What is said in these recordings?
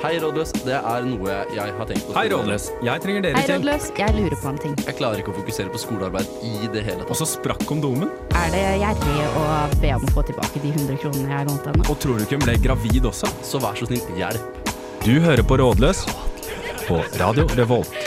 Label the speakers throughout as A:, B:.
A: Hei, rådløs. Det er noe jeg har tenkt på.
B: Hei, Rådløs. Jeg trenger dere
C: Hei,
B: til.
C: rådløs. Jeg lurer på en ting.
A: Jeg klarer ikke å fokusere på skolearbeid i det hele
B: Og
A: tatt.
B: så sprakk kondomen.
C: Er det gjerrig å be om å få tilbake de 100 kronene jeg lånte henne?
B: Og tror du ikke hun ble gravid også?
A: Så vær så snill, hjelp.
B: Du hører på Rådløs på Radio Revolt.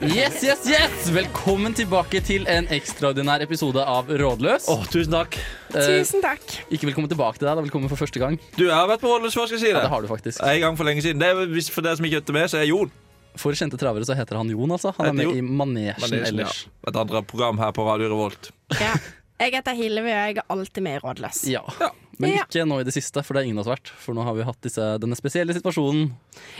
A: Yes, yes, yes! Velkommen tilbake til en ekstraordinær episode av Rådløs.
D: Åh, tusen takk.
A: Eh,
E: Tusen takk.
A: ikke velkommen tilbake til deg, da. Velkommen for første gang.
D: Du, jeg har vært på Rådløs, hva skal jeg si
A: Ja,
D: det?
A: det har du faktisk.
D: En gang for lenge siden. Det er hvis- For dere som ikke hørte med, så er jeg Jon.
A: For kjente travere så heter han Jon, altså. Han er
D: Heter
A: med
D: Jon.
A: i Manesjen
D: Manesjen,
A: ellers.
D: ja. Et andre program her på Radio Revolt.
E: Ja. Jeg heter Hillevi, og jeg er alltid med i Rådløs.
A: Ja. Men
E: Ja.
A: ikke nå i det siste, for det har ingen av oss vært. For nå har vi hatt disse, denne spesielle situasjonen.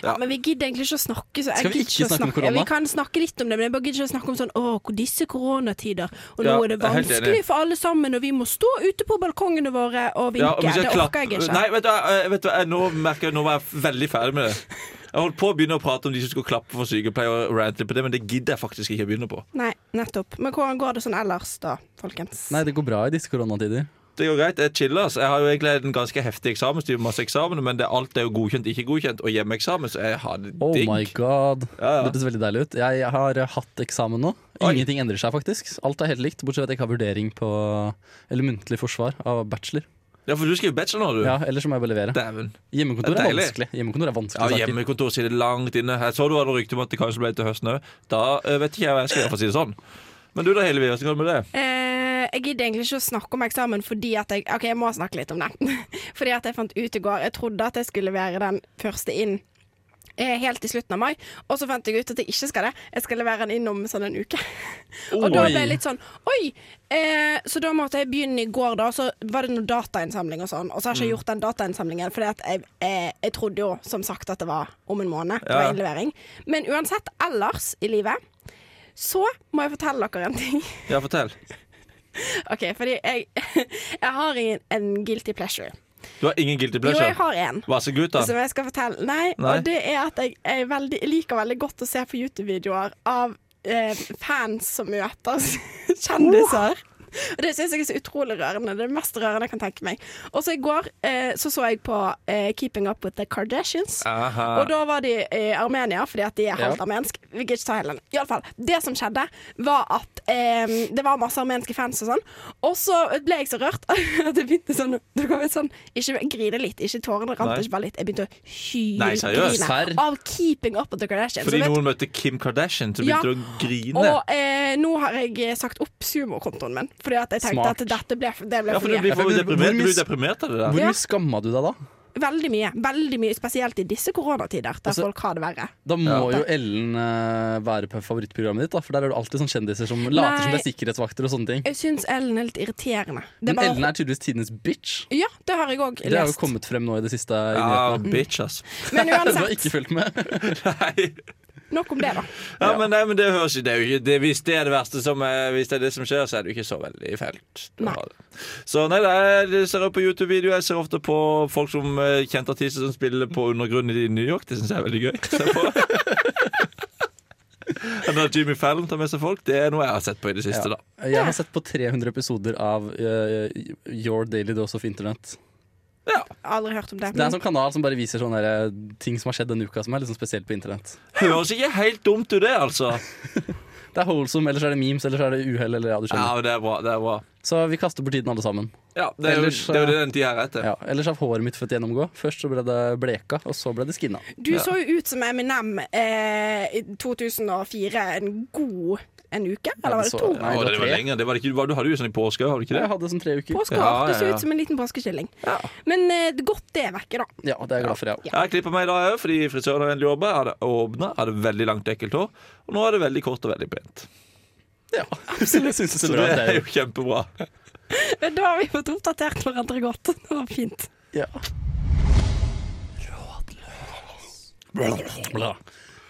D: Ja.
E: Men vi gidder egentlig ikke å snakke. Så jeg
A: Skal vi
E: gidder
A: ikke
E: å
A: snakke om
E: Ja,
A: korona?
E: Vi kan snakke litt om det, men jeg bare gidder ikke å snakke om sånn Å, hvor disse koronatider. Og nå
D: Ja,
E: er det
D: jeg er helt
E: vanskelig
D: enig.
E: for alle sammen, og vi må stå ute på balkongene våre og vinke.
D: Ja, og vi skal
E: det
D: klappe-
E: orker jeg ikke.
D: Nei, vet du, hva, eh, vet du, hva, jeg, nå merker jeg, nå var jeg veldig ferdig med det. Jeg holdt på å begynne å prate om de som skulle klappe for sykepleier og rante på det, men det gidder jeg faktisk ikke å begynne på.
E: Nei, nettopp. Men hvordan går det sånn ellers, da, folkens?
A: Nei, det går bra i disse koronatider.
D: Det går greit, jeg chiller. ass. Jeg har jo egentlig en ganske heftig eksamenstid, masse eksamener, men det, alt er jo godkjent, ikke godkjent, og hjemmeeksamen, så jeg har det
A: Oh
D: digg.
A: my god.
D: Ja, ja.
A: Det hørtes veldig deilig ut. Jeg har eh, hatt eksamen nå.
D: Oi.
A: Ingenting endrer seg faktisk. Alt er helt likt, bortsett fra at jeg ikke har vurdering på Eller muntlig forsvar av bachelor.
D: Ja, for du skriver bachelor nå, du.
A: Ja, Ellers så må jeg bare levere.
D: Dæven.
A: Hjemmekontor
D: Det er
A: er
D: deilig.
A: vanskelig. Hjemmekontor er
D: Ja,
A: vanskelig saker.
D: hjemmekontor sitter langt inne. Jeg så du hadde rykte om at det kanskje ble til høsten òg. Da eh, vet ikke jeg hva jeg skal gjøre, for å si det sånn. Men du da, Hillevi, hvordan går det med det?
E: Eh, jeg gidder egentlig ikke å snakke om eksamen fordi at jeg OK, jeg må snakke litt om det. fordi at jeg fant ut i går Jeg trodde at jeg skulle være den første inn eh, helt i slutten av mai, og så fant jeg ut at jeg ikke skal det. Jeg skal levere den inn om sånn en uke. og da ble jeg litt sånn Oi! Eh, så da måtte jeg begynne i går, da. Så var det noe datainnsamling og sånn. Og så har jeg ikke gjort den datainnsamlingen, for jeg, eh, jeg trodde jo som sagt at det var om en måned. Det
D: Ja.
E: var innlevering. Men uansett, ellers i livet så må jeg fortelle dere en ting.
D: Ja, fortell.
E: Ok, fordi jeg, jeg har en, en guilty pleasure.
D: Du har ingen guilty
E: Jo,
D: pleasure?
E: jeg har en.
D: Vassegutta?
E: Som jeg skal fortelle. Nei,
D: Nei.
E: og det er at jeg, jeg, er veldig, jeg liker veldig godt å se på YouTube-videoer av eh, fans som møter kjendiser. Og Det syns jeg er så utrolig rørende. Det er det mest rørende jeg kan tenke meg. Og så i går eh, så, så jeg på eh, Keeping Up With The Kardashians.
D: Aha.
E: Og da var de i Armenia, fordi at de er halvt
A: Ja.
E: armensk. Vi gidder ikke ta hele den. I alle fall, det som skjedde, var at eh, det var masse armenske fans og sånn. Og så ble jeg så rørt at jeg begynte sånn, det kom et sånn Ikke grine litt, ikke tårene rant,
D: Nei.
E: ikke bare litt. Jeg begynte å
D: Nei, seriøst?
A: Serr?
E: hylgrine av Keeping Up With The Kardashians.
D: Fordi
E: Så vet-
D: noen møtte Kim Kardashian, så
E: Ja.
D: begynte du å grine.
E: og eh, nå har jeg sagt opp sumokontoen min, fordi at jeg tenkte
A: Smart.
E: at dette ble, det ble
D: ja, for
E: for
D: du
E: mye.
D: blir for
A: Ja, for du-
D: deprimert.
A: hvor
D: Du
A: mye-
D: blir deprimert av det
A: Hvor
D: der.
E: Ja.
A: mye skamma du deg da?
E: Veldig mye, veldig mye, spesielt i disse koronatider, der
A: Altså-
E: folk har det verre.
A: Da må jo Ellen eh, være på favorittprogrammet ditt, da, for der er det alltid sånne kjendiser som later som de er sikkerhetsvakter og sånne ting.
E: Jeg syns Ellen er litt irriterende. Det er
A: Men
E: bare-
A: Ellen er tydeligvis tidenes bitch.
E: Ja, det har jeg òg
A: Det har jo
E: lest.
A: kommet frem nå i det siste. i
D: Ja,
E: Mm.
A: nyhetene.
D: bitch, ass.
E: Men
A: Du har
E: uansett,
A: ikke fulgt med?
D: Nei.
E: nok om det, da.
D: Ja, men, nei, men det høres ikke, det er jo ikke det, Hvis det er det verste som eh, Hvis det er det som skjer, så er det jo ikke så veldig fælt. Du
E: Nei.
D: har det. Så nei, det er, jeg ser på YouTube-videoer. Jeg ser ofte på folk som eh, kjente artister som spiller på undergrunnen i New York. Det syns jeg er veldig gøy. å Se på. Når Jimmy Fallon tar med seg folk, det er noe jeg har sett på i det siste. da
A: Jeg har sett på 300 episoder av eh, Your Daily Dose of Internet.
E: Aldri hørt om det.
A: Det er en sånn kanal som bare viser sånne der, eh, ting som har skjedd denne uka, som er litt sånn spesielt på internett.
D: Høres ikke helt dumt ut, det, altså.
A: Det er holdsome, eller så er det memes, eller så er det uhell, eller ja, du
D: Ja,
A: skjønner.
D: men det er bra. Det er bra
A: Så vi kaster bort tiden alle sammen.
D: ja, det er jo
A: Ellers, eh,
D: det, er jo det den tida her etter.
A: Ja, ellers har håret mitt fått gjennomgå. Først så ble det bleka, og så ble det skinna.
E: Du så jo ut som Eminem eh, i 2004 en god en uke, eller var det
A: så-
E: to?
A: Nei, det
D: Å,
A: var
D: det var
A: tre.
D: lenger. Det var det ikke, hva- du hadde jo sånn i påske, har du ikke
A: Jeg
D: det?
A: hadde sånn tre uker.
E: Påskehår.
D: Ja,
E: Det så
D: ja, ja.
E: ut som en liten påskekylling.
D: Ja.
E: Men eh, det er godt det er vekke, da.
A: Ja, det er jeg glad for, jeg òg.
D: Jeg har klippa meg i dag òg, fordi frisøren har endelig jobba. Jeg hadde åpna, hadde veldig langt, ekkelt hår. Og nå er det veldig kort og veldig pent.
A: Ja, absolutt. Jeg synes det er
D: Så det
A: bra, det
D: er
A: er
D: jo kjempebra.
E: Men Da har vi fått oppdatert hverandre godt. Det var fint.
A: jo- ja. Bla.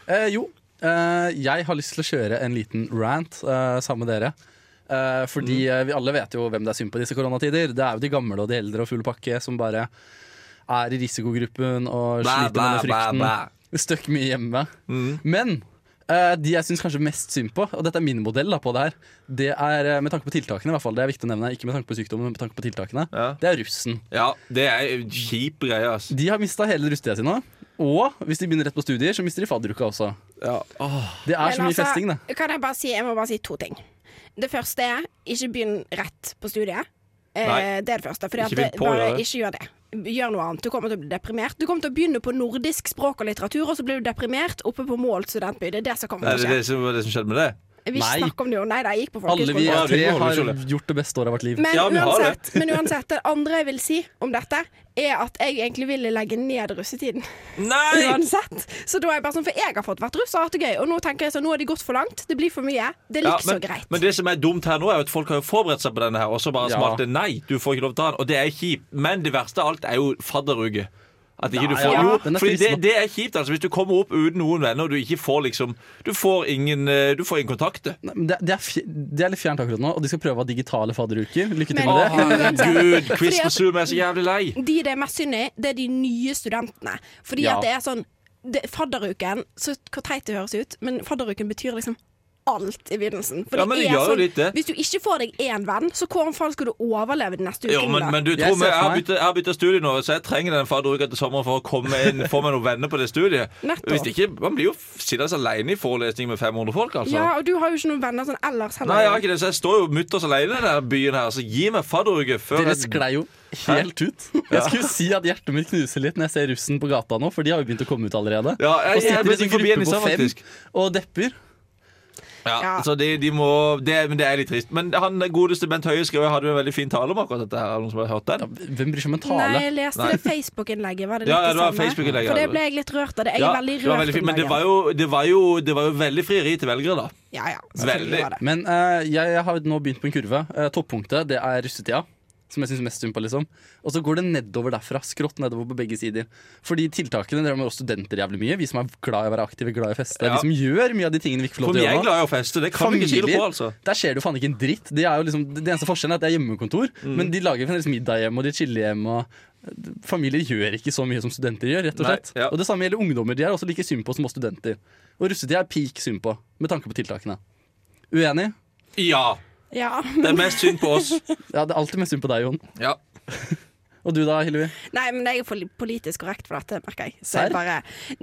A: Eh, jo, eh, jeg har lyst til å kjøre en liten rant eh, sammen med dere. Eh, fordi
D: Mm.
A: eh, vi alle vet jo hvem det er synd på i disse koronatider. Det er jo de gamle og de eldre og full pakke som bare er i risikogruppen og
D: Bæ,
A: sliter med
D: bæ,
A: denne frykten.
D: bæ, Mm.
A: Støkk mye hjemme. Men eh, de jeg syns kanskje mest synd på, og dette er min modell da på det her, det er eh, med tanke på tiltakene, i hvert fall, det er viktig å nevne, ikke med tanke på sykdommen, men med tanke på tiltakene,
D: Ja.
A: det er russen.
D: Ja, det er en kjip greie, ass.
A: De har mista hele rustetida si nå. Og hvis de begynner rett på studier, så mister de fadderuka også.
D: Ja. Åh.
A: Det er så
E: Men
A: mye
E: altså,
A: festing, det.
E: Kan jeg, bare si, jeg må bare si to ting. Det første er ikke begynn rett på studiet. Eh,
D: Nei.
E: det er det første. Fordi
D: Ikke
E: at
D: begynn
E: det-
D: på å
E: bare
D: gjøre det.
E: ikke gjør det. Gjør noe annet. Du kommer til å bli deprimert. Du kommer til å begynne på nordisk språk og litteratur, og så blir du deprimert oppe på Mål studentby. Det er det som kommer
D: Er
E: til
D: det
E: å skje.
D: det som, det som skjedde med det?
E: Jeg vil ikke
A: Nei.
E: snakke om det jo. Nei da, jeg gikk på
A: Alle vi
E: folkehøyskole.
D: Ja,
A: tre
D: vi må holde
A: har
D: skjullet.
A: gjort det beste året av vårt liv.
E: Men,
D: Ja, vi har
E: uansett, men uansett, det andre jeg vil si om dette, er at jeg egentlig ville legge ned russetiden.
D: Nei!
E: Uansett. Så da er jeg bare sånn, for jeg har fått vært russ og hatt det gøy, og nå tenker jeg sånn, nå har de gått for langt. Det blir for mye. Det er
D: Ja,
E: liksom
D: men,
E: så greit.
D: men det som er dumt her nå, er jo at folk har jo forberedt seg på denne her, og så bare
A: Ja.
D: smalt det nei. Du får ikke lov til å ta den. Og det er kjipt. Men det verste av alt er jo fadderuke. At
A: Nei,
D: ikke du får
A: ja,
D: Jo,
A: den er
D: fordi
A: trist
D: det,
A: nå.
D: det er kjipt. altså Hvis du kommer opp uten noen venner, og du ikke får liksom Du får ingen, eh, du får ingen kontakter.
A: Nei, men Det, det, er fj- det er litt fjernt akkurat nå, og de skal prøve å ha digitale fadderuker. Lykke til
E: Men-
D: Å,
A: med det.
D: herregud! Quiz
E: Fordi
D: på
E: at-
D: Zoom er så jævlig lei.
E: De det er mest synd i, det er de nye studentene. Fordi
A: Ja.
E: at det er sånn det, Fadderuken Så hvor teit det høres ut, men fadderuken betyr liksom alt i begynnelsen. For
D: Ja, men det
E: er
D: gjør
E: sånn,
D: jo litt det.
E: Hvis du ikke får deg én venn, så hvordan faen skal du overleve de neste
D: Jo,
E: ukene?
D: men,
E: da?
D: men du
A: Jeg
D: tror
A: ser
D: meg, jeg
A: for
D: har
A: meg.
D: byttet- jeg har bytta studie nå, så jeg trenger den fadderuka til sommeren for å komme inn, få meg noen venner på det studiet.
E: Nettopp.
D: Hvis ikke, Man blir jo sittende alene i forelesning med 500 folk, altså.
E: Ja, og du har jo ikke noen venner sånn ellers heller.
D: Nei, jeg har ikke det, så jeg står jo mutters alene i denne byen her, så gi meg fadderuke før
A: Dere
D: jeg-
A: sklei jo helt ut. Jeg skulle si at hjertet mitt knuser litt når jeg ser russen på gata nå, for de har jo begynt å komme ut allerede.
D: Ja, jeg,
A: Og
D: jeg,
A: sitter
D: ble
A: i en
D: så forbi
A: gruppe
D: en i
A: på
D: stad,
A: fem
D: faktisk.
A: og depper.
D: Ja,
E: Ja.
D: Så de, de må det, Men det er litt trist. Men han godeste Bent Høie skrev hadde jo en veldig fin tale om akkurat dette her. Er det Noen som har hørt den?
A: Hvem bryr seg om en
E: Nei,
A: tale?
E: jeg leste det Facebook-innlegget. Var det litt
D: Ja, ja, det var
E: samme?
D: Facebook-innlegget.
E: For det ble jeg litt rørt av. det Jeg er
D: Ja,
E: veldig
D: det
E: rørt
D: var veldig fint,
E: om
D: men det
E: dagen.
D: var, jo, det, var jo, det var jo veldig frieri til velgere, da.
E: Ja, ja,
D: Veldig.
E: selvfølgelig var det.
A: Men eh, jeg, jeg har nå begynt på en kurve. Eh, toppunktet det er russetida. Som jeg syns mest synd på. liksom Og så går det nedover derfra. Skrått nedover på begge sider. Fordi tiltakene det rammer oss studenter jævlig mye. Vi som er glad i å være aktive, glad i å feste.
D: Ja.
A: Vi som gjør mye av de tingene vi ikke får lov
D: For
A: til å
D: vi er
A: gjøre nå.
D: glad i å feste. Det kan vi ikke kile på, altså.
A: der skjer det jo faen ikke en dritt. Det, er jo liksom, det eneste forskjellen er at det er hjemmekontor,
D: Mm.
A: men de lager fremdeles middag hjemme, og de chiller hjemme. Og familier gjør ikke så mye som studenter gjør, rett og
D: Nei,
A: slett.
D: ja.
A: Og det samme gjelder ungdommer. De er også like synd på som oss studenter. Og russetida er peak synd på, med tanke på tiltakene. Uenig?
D: Ja.
E: Ja.
D: Det er mest synd på oss.
A: Ja, det er alltid mest synd på deg, Jon.
D: Ja.
A: Og du da, Hillevi?
E: Nei, men jeg er for politisk korrekt for dette, merker jeg. Så
A: Serr?
E: jeg bare,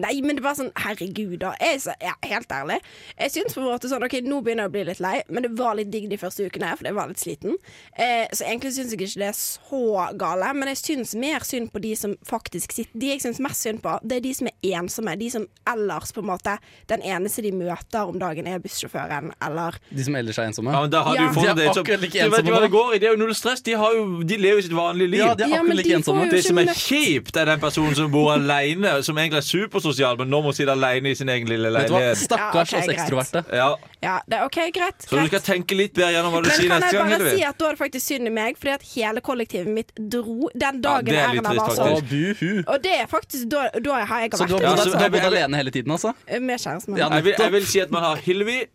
E: nei, men det var sånn, herregud da. Jeg, er så- ja, helt ærlig. Jeg syns på en måte sånn, ok, nå begynner jeg å bli litt lei, men det var litt digg de første ukene her, for jeg var litt sliten. Eh, så egentlig syns jeg ikke det er så gale, men jeg syns mer synd på de som faktisk sitter De jeg syns mest synd på, det er de som er ensomme. De som ellers på en måte Den eneste de møter om dagen, er bussjåføren eller
A: De som ellers er ensomme?
D: ja, men da hadde
E: Ja.
D: jo folk
A: De er
D: det som-
A: akkurat like
D: Du vet
A: ensomme
D: jo hva det
A: nå.
D: går i. Det er jo null stress. De, har jo, de lever jo sitt vanlige liv.
A: Ja, de er
E: Ja, men
A: akkurat
E: de
A: like
E: får
A: ensomme.
E: jo
D: Det som er
E: Skjønner.
D: kjipt, er den personen som bor alene, som egentlig er supersosial, men nå må sitte alene i sin egen lille
A: Vet du hva?
D: leilighet.
A: Stakkars
E: Ja, ok,
A: oss
E: greit.
A: ekstroverte.
D: Ja.
E: Ja, det er OK, greit.
D: Så du
E: greit.
D: skal tenke litt bedre gjennom hva du
E: Men
D: sier
E: kan
D: neste
E: jeg
D: gang.
E: bare si
D: Helvi.
E: at da er det faktisk synd i meg, fordi at hele kollektivet mitt dro den
D: Ja,
E: dagen
D: det er litt
E: Erna var
D: trist,
A: Å,
E: sånn.
D: faktisk.
A: buhu.
E: Og det er faktisk da, da har jeg
A: Så
E: vært
A: du har
D: Ja,
A: bodd,
D: så-
A: du har bodd alene hele tiden, altså?
E: med kjæresten min.
A: Ja,
D: Jeg vil, jeg vil si at man har Hilvi,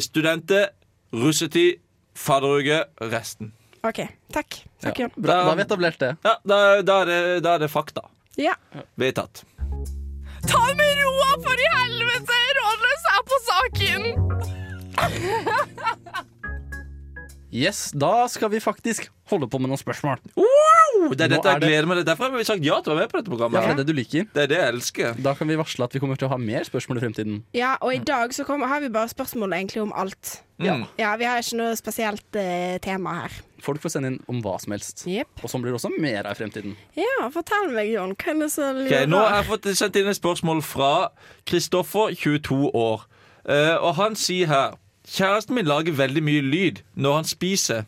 D: studenter, russetid, fadderuke, resten.
E: OK. Takk. Takk,
A: Ja,
E: Jon.
A: bra, da har vi etablert det.
D: Ja, da, da, er det, da er det fakta.
E: Ja.
D: Vedtatt.
F: Ta det med roa, for i helvete! Rådløs er på saken!
A: Yes, da skal vi faktisk holde på med noen spørsmål.
D: Oh, det er
A: Nå er
D: dette jeg
A: det-
D: gleder meg til. Derfor har vi sagt ja til å være med på
A: Ja, for det
D: dette programmet.
A: er det du liker.
D: Det er det jeg elsker.
A: Da kan vi varsle at vi kommer til å ha mer spørsmål i fremtiden.
E: ja, og i dag så kommer, har vi bare spørsmål egentlig om alt.
D: Mm.
E: Ja, Vi har ikke noe spesielt eh, tema her.
A: Folk får sende inn om hva som helst.
E: Jepp.
A: Og sånn blir det også mer av i fremtiden.
E: Ja, fortell meg, Jon. Hva er det som
D: Ok,
E: lurer?
D: nå har jeg fått sendt inn et spørsmål fra Kristoffer, 22 år. Eh, og han sier her Kjæresten min lager veldig mye lyd når han spiser.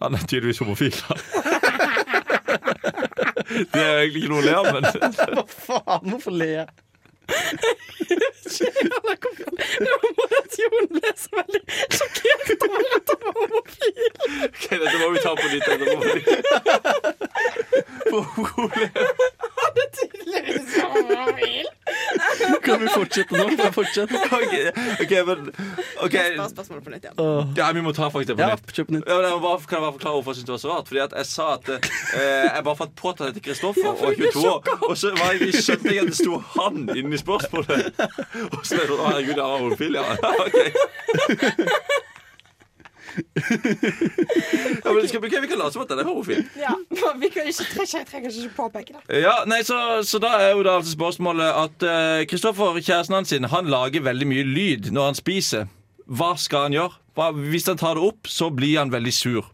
D: Han er tydeligvis homofil. da. det er jo egentlig ikke noe å le av, men
A: Hva faen, hvorfor ler jeg?
E: Nå må jeg at Jon ble så veldig sjokkert over at han var homofil.
D: Ok, dette må vi ta på nytt. dette må vi-
A: Kan vi fortsette nå? Kan vi fortsette?
D: Ok, ok, men
E: Bare
D: ok.
E: spørsmål på nytt igjen.
A: Åh.
D: Ja, vi må ta faktisk det på
A: Ja,
D: nytt.
A: kjøp nytt.
D: Ja, men jeg må bare, kan jeg bare forklare hvorfor jeg syntes det var så rart? Fordi at jeg sa at eh, jeg bare fant påtatt etter Kristoffer og 22 år, og så var jeg, skjønte jeg at det sto 'han' inni spørsmålet. Og så ble det sånn Å, herregud, jeg har homofil, ja. Ok. Ja, men skal, ok, vi kan late som at den er homofil.
E: Ja, vi kan ikke, jeg trenger ikke påpeke det.
D: Ja, nei, så, så da er jo da altså spørsmålet at eh, Kristoffer, kjæresten hans sin, han lager veldig mye lyd når han spiser. Hva skal han gjøre? Hva, hvis han tar det opp, så blir han veldig sur.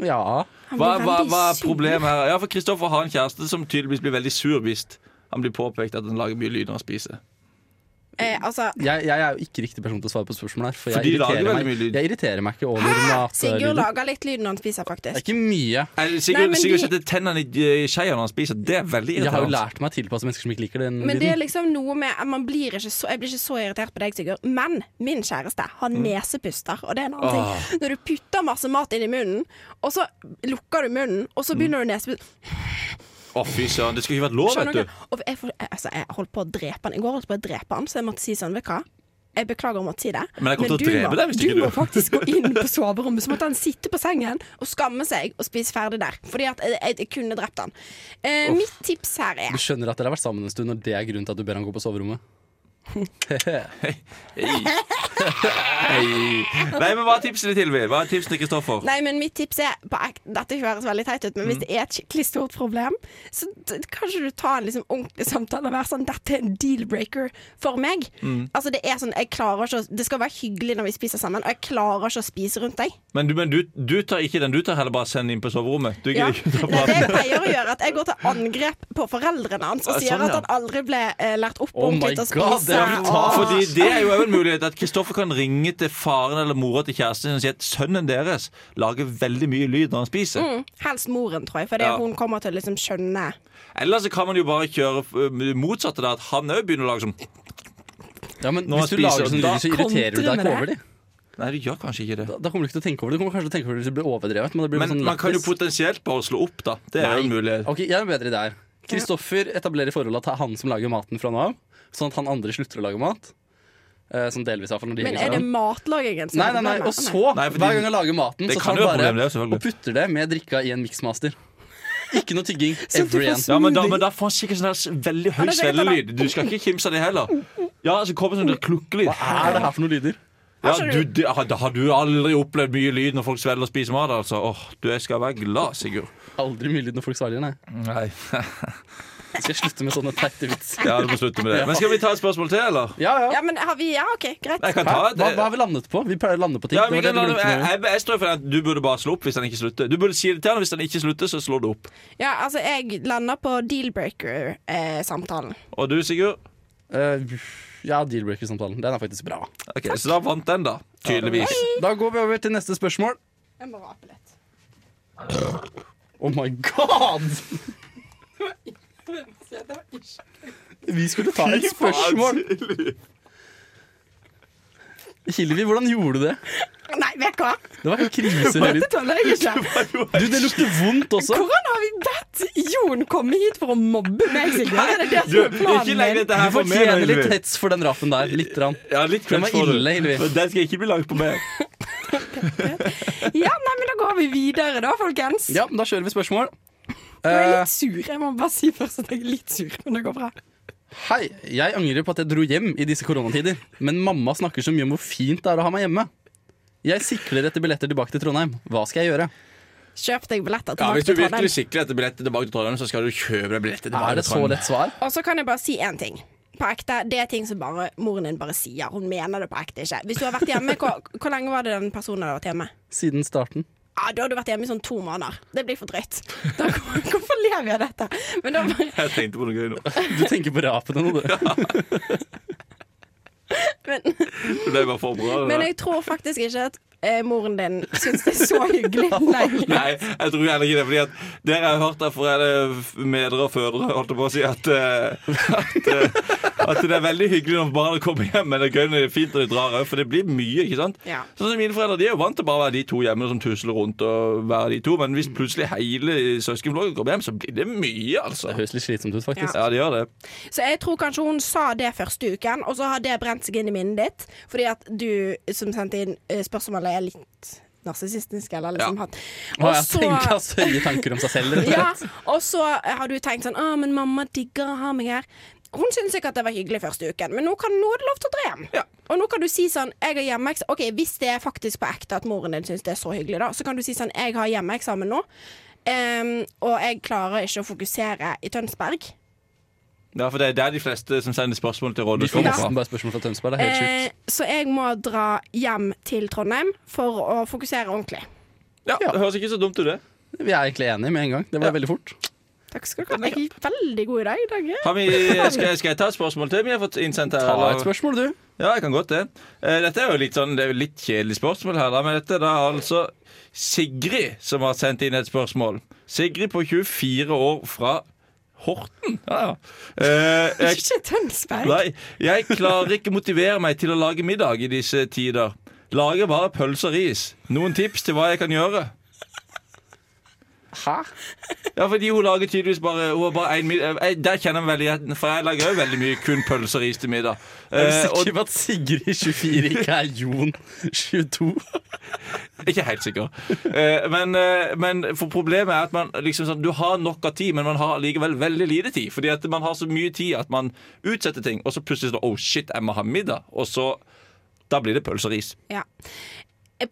A: Ja.
E: Han
D: Hva,
E: blir
D: hva,
E: veldig
D: hva er
E: sur.
D: problemet her? Ja, for Kristoffer har en kjæreste som tydeligvis blir veldig sur hvis han blir påpekt at han lager mye lyd når han spiser.
E: Eh, altså,
A: Jeg, jeg er jo ikke riktig person til å svare på spørsmål her. For jeg,
D: For de lager
A: irriterer
D: veldig mye
A: meg,
D: lyd.
A: jeg irriterer meg ikke over
E: Sigurd
A: matlyder.
E: lager litt lyd når han spiser,
A: Det er
E: faktisk.
A: ikke mye.
D: Eller
E: Nei,
D: Sigurd,
E: men
D: Sigurd
E: de-
D: setter tennene i eh, i skjea når han spiser. Det er veldig
A: Jeg har jo
D: irriterende.
A: lært meg å tilpasse mennesker som ikke liker den
E: Men det er
A: lyden.
E: liksom noe med at man blir ikke så, Jeg blir ikke så irritert på deg, Sigurd, men min kjæreste har nesepuster, og det er en annen ting. Når du putter masse mat inn i munnen, og så lukker du munnen, og så begynner du nesepuster
D: Å, fy søren, det skulle ikke vært lov,
E: Skjønner
D: vet du.
E: dere? Og jeg, får- jeg, altså, jeg holdt på å drepe han. I går holdt jeg på å drepe han, så jeg måtte si sånn, vet du hva? Jeg beklager om å si det.
D: Men jeg kommer til å
E: du
D: drepe
E: må-
D: deg hvis ikke du-
E: må faktisk gå inn på soverommet. Så måtte han sitte på sengen og skamme seg og spise ferdig der. Fordi at jeg, jeg, jeg kunne drept han. Eh, mitt tips her er
A: Du skjønner at dere har vært sammen en stund, og det er grunnen til at du ber han gå på soverommet.
D: Nei, men Hva er tipsene til, vi? Hva er tipsene til Kristoffer?
E: Nei, men mitt tips er på ek- Dette høres veldig teit ut,
D: Mm.
E: men hvis det er et skikkelig stort problem, så t- kanskje du tar en liksom ordentlig samtale og være sånn Dette er en deal-breaker for meg.
D: Mm.
E: Altså, det er sånn Jeg klarer ikke å Det skal være hyggelig når vi spiser sammen, og jeg klarer ikke å spise rundt deg.
D: Men, du, men du, du tar ikke den. Du tar heller bare send den inn på soverommet. Du
E: Ja.
D: gidder ikke ta
E: Nei, det
D: praten.
E: jeg pleier å gjøre, at jeg går til angrep på foreldrene hans og
D: Ja,
E: sier
D: sånn,
E: at
D: ja.
E: han aldri ble eh, lært opp
A: Oh my
E: ordentlig til å
A: God, det
E: spise.
A: er brutalt.
E: og-
D: Fordi det er jo også en mulighet at Kristoffer kan ringe til faren eller mora til kjæresten sin og si at sønnen deres lager veldig mye lyd når han spiser.
E: Mm, helst moren, tror jeg, for det
D: Ja.
E: hun kommer til å liksom skjønne.
D: Eller så kan man jo bare kjøre ø, motsatte da, at han òg begynner å lage sånn
A: Ja, men
D: Når han
A: hvis du
D: spiser,
A: lager sånn
D: da
A: lyd, så irriterer du
C: kontrer
A: deg
C: med
A: ikke over det.
D: Nei, du gjør kanskje ikke det.
A: Da, da kommer du ikke til å tenke over det. Du kommer kanskje til å tenke over det hvis det blir overdrevet. Men det blir
D: Men
A: sånn
D: man kan jo
A: lættis.
D: potensielt bare slå opp, da. Det er jo en mulighet.
A: Ok, jeg er bedre der. Kristoffer etablerer forholdet at det er han som lager maten fra nå av. Sånn at han andre slutter å lage mat. Eh, sånn delvis, iallfall. Når de
E: Men
A: henger
E: er det
A: sammen.
E: matlagingen som
A: Nei,
E: er
A: nei, nei.
E: problemet?
A: Og så,
D: Nei, fordi-
A: hver gang han lager maten,
D: Det
A: så
D: kan
A: tar
D: jo
A: han
D: være
A: bare
D: problem, det, selvfølgelig.
A: og putter det med drikka i en miksmaster. Ikke noe tygging.
E: Så du får
A: Every end.
D: Ja, men da, men da får han sikkert sånn her veldig høy
E: Ja, det er greit,
D: svellelyd. Du skal ikke kimse av det heller. Ja, så kommer sånn der klukkelyd.
A: Hva er det her for noen lyder?
D: Ja,
E: skjønner
D: du, det, har, har du aldri opplevd mye lyd når folk svelger og spiser mat, altså? Åh, du jeg skal være glad, Sigurd.
A: Aldri mye lyd når folk svelger, nei.
D: Nei.
A: Skal jeg slutte med sånne teite vitser?
D: Ja, du må slutte med det. Men skal vi ta et spørmål til, eller?
A: Ja, ja.
E: Ja, men har vi Ja, OK, greit.
D: Jeg kan
A: Hæ? Hva,
D: ta et
A: hva har vi landet på? Vi pleier å lande på ting.
D: ja,
A: det
D: vi
A: var det
D: kan
A: du
D: la det-
A: lurte
D: jeg,
A: meg
D: jeg, jeg står for at du burde bare slå opp hvis han ikke slutter. Du burde si det til han, Hvis han ikke slutter, så slår du opp.
E: Ja, altså, jeg lander på deal-breaker-samtalen.
D: Og du, Sigurd?
A: med. Eh, Ja, dealbreaker-samtalen. Den er faktisk bra.
D: Ok, Så da vant den, da. Tydeligvis.
A: Da går vi over til neste spørsmål.
E: jeg må rape litt.
A: Oh my god! Vi skulle ta et spørsmål. Hilvi, hvordan gjorde du det?
E: Nei, vet du hva?
A: Det Sånn. var helt krise. her
E: Dette
A: ute.
E: tåler jeg ikke.
A: Du, det lukter vondt også.
E: Hvordan har vi bedt Jon komme hit for å mobbe meg, Sigurd? Er det det
D: Du,
E: som er
D: ikke
E: planen
D: legg
E: din?
D: dette
A: Du
D: her for meg,
A: fortjener litt
D: Hilvi.
A: hets for den rapen der. Litt. Rann.
D: Ja, litt
A: Den var
D: cringe får du.
A: ille, Hilvi.
D: Men Den skal ikke bli lagt på meg.
E: Ja, nei, men da går vi videre, da, folkens.
A: Ja, da kjører vi spørsmål.
E: Jeg er
A: Eh,
E: litt sur. Jeg må bare si først at jeg er litt sur, men det går bra.
A: Hei, jeg angrer på at jeg dro hjem i disse koronatider, men mamma snakker så mye om hvor fint det er å ha meg hjemme. Jeg sikler etter billetter tilbake til Trondheim. Hva skal jeg gjøre?
E: Kjøp deg billetter
D: Ja,
E: tilbake
D: Hvis du
E: til Trondheim.
D: virkelig sikrer etter billetter tilbake til Trondheim, så skal du kjøpe deg billetter tilbake
A: Er det
D: til
A: så
D: Trondheim.
A: lett svar?
E: Og så kan jeg bare si én ting. På ekte, Det er ting som bare moren din bare sier. Hun mener det på ekte ikke. Hvis du har vært hjemme, hvor, hvor lenge var det den personen hadde vært hjemme?
A: Siden starten.
E: Ja, Da har du vært hjemme i sånn to måneder. Det blir for drøyt. Da, hvorfor lever jeg av dette? Men da bare
D: Jeg tenkte på noe gøy nå.
A: Du tenker på rapene nå, du.
E: men,
D: Det ble bare for bra. det
E: men
D: der.
E: jeg tror faktisk ikke at eh, moren din syns det er så hyggelig lenger.
D: Nei, jeg tror heller ikke det. Fordi at Dere har hørt det fra medre og fødre holdt jeg på å si, at, eh, at, eh, at det er veldig hyggelig når barna kommer hjem, men det er gøy når det er fint når de drar òg, for det blir mye. ikke sant?
E: Ja.
D: Sånn som Mine foreldre de er jo vant til bare å være de to hjemme som tusler rundt. og være de to, Men hvis plutselig hele søskenflokken kommer hjem, så blir det mye,
A: Det
D: altså.
A: høres litt slitsomt ut, faktisk.
D: Ja, det gjør det.
E: Så jeg tror kanskje hun sa det første uken, og så har det brent seg inn i minnet ditt. Fordi at du som sendte inn eh, spørsmålet, er litt narsissistisk, eller liksom
D: Ja.
E: hatt
A: Å, jeg tenker altså høye tanker om seg selv, rett og
E: Ja,
A: slett.
E: og så har du tenkt sånn Å, men mamma digger å ha meg her. Hun syntes ikke at det var hyggelig første uken, men nå kan nå er det lov til å dra hjem.
D: Ja.
E: Og nå kan du si sånn Jeg har hjemmeeksamen Ok, hvis det er faktisk på ekte at moren din syns det er så hyggelig, da, så kan du si sånn Jeg har hjemmeeksamen nå, em, og jeg klarer ikke å fokusere i Tønsberg.
D: Ja, for det er der de fleste som sender spørsmål til
A: De
D: rådet
A: får
D: kommer
A: nesten
D: fra.
A: bare spørsmål fra Tønsberg. Det er helt
E: Eh,
A: sjukt.
E: så jeg må dra hjem til Trondheim for å fokusere ordentlig.
D: Ja, det høres ikke så dumt ut, det.
A: Vi er egentlig enige med en gang. Det ble veldig fort.
E: Takk skal du ha. Jeg er veldig god i dag, Dagge.
D: Har vi, skal, skal jeg ta et spørsmål til vi har fått innsendt her?
A: Ta
D: eller?
A: et spørsmål, du.
D: Ja, jeg kan godt det. Eh, Dette er jo litt sånn, det er jo litt kjedelig spørsmål her, da, men dette er da altså Sigrid som har sendt inn et spørsmål. Sigrid på 24 år fra Horten. Ja, ja. Eh, jeg,
E: Ikke Tønsberg.
D: nei, jeg klarer ikke motivere meg til å lage middag i disse tider. Lager bare pølse og ris. Noen tips til hva jeg kan gjøre?
A: Hæ?
D: Ja, fordi hun lager tydeligvis bare, hun har bare en middag. Jeg, der kjenner jeg meg veldig igjen, for jeg lager jo veldig mye kun pølse og ris til middag.
A: Er du
D: Eh, og
A: sikker på at Sigrid 24 ikke er Jon 22?
D: Ikke helt sikker. Eh, men, eh, men for problemet er at man liksom sånn, du har nok av tid, men man har likevel veldig lite tid. Fordi at man har så mye tid at man utsetter ting, og så plutselig sånn Oh shit, jeg må ha middag. Og så Da blir det pølse og ris.
E: Ja.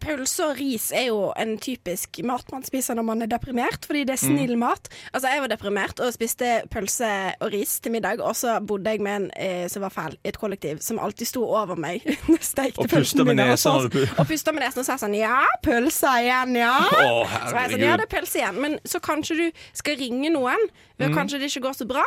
E: Pølse og ris er jo en typisk mat man spiser når man er deprimert, fordi det er
D: Mm.
E: snill mat. Altså, jeg var deprimert og spiste pølse og ris til middag, og så bodde jeg med en eh, som var fæl i et kollektiv, som alltid sto over meg. når jeg stekte
D: Og pusta
E: pølsene
D: med
E: mine, og
D: nesa
E: sa-
D: når du pu-
E: Og pusta med nesen og sa sånn Ja, pølse igjen, ja.
D: Å,
E: så var jeg sånn,
D: herregud.
E: ja, det er pølse igjen. Men så kanskje du skal ringe noen, og
D: Mm.
E: kanskje det ikke går så bra.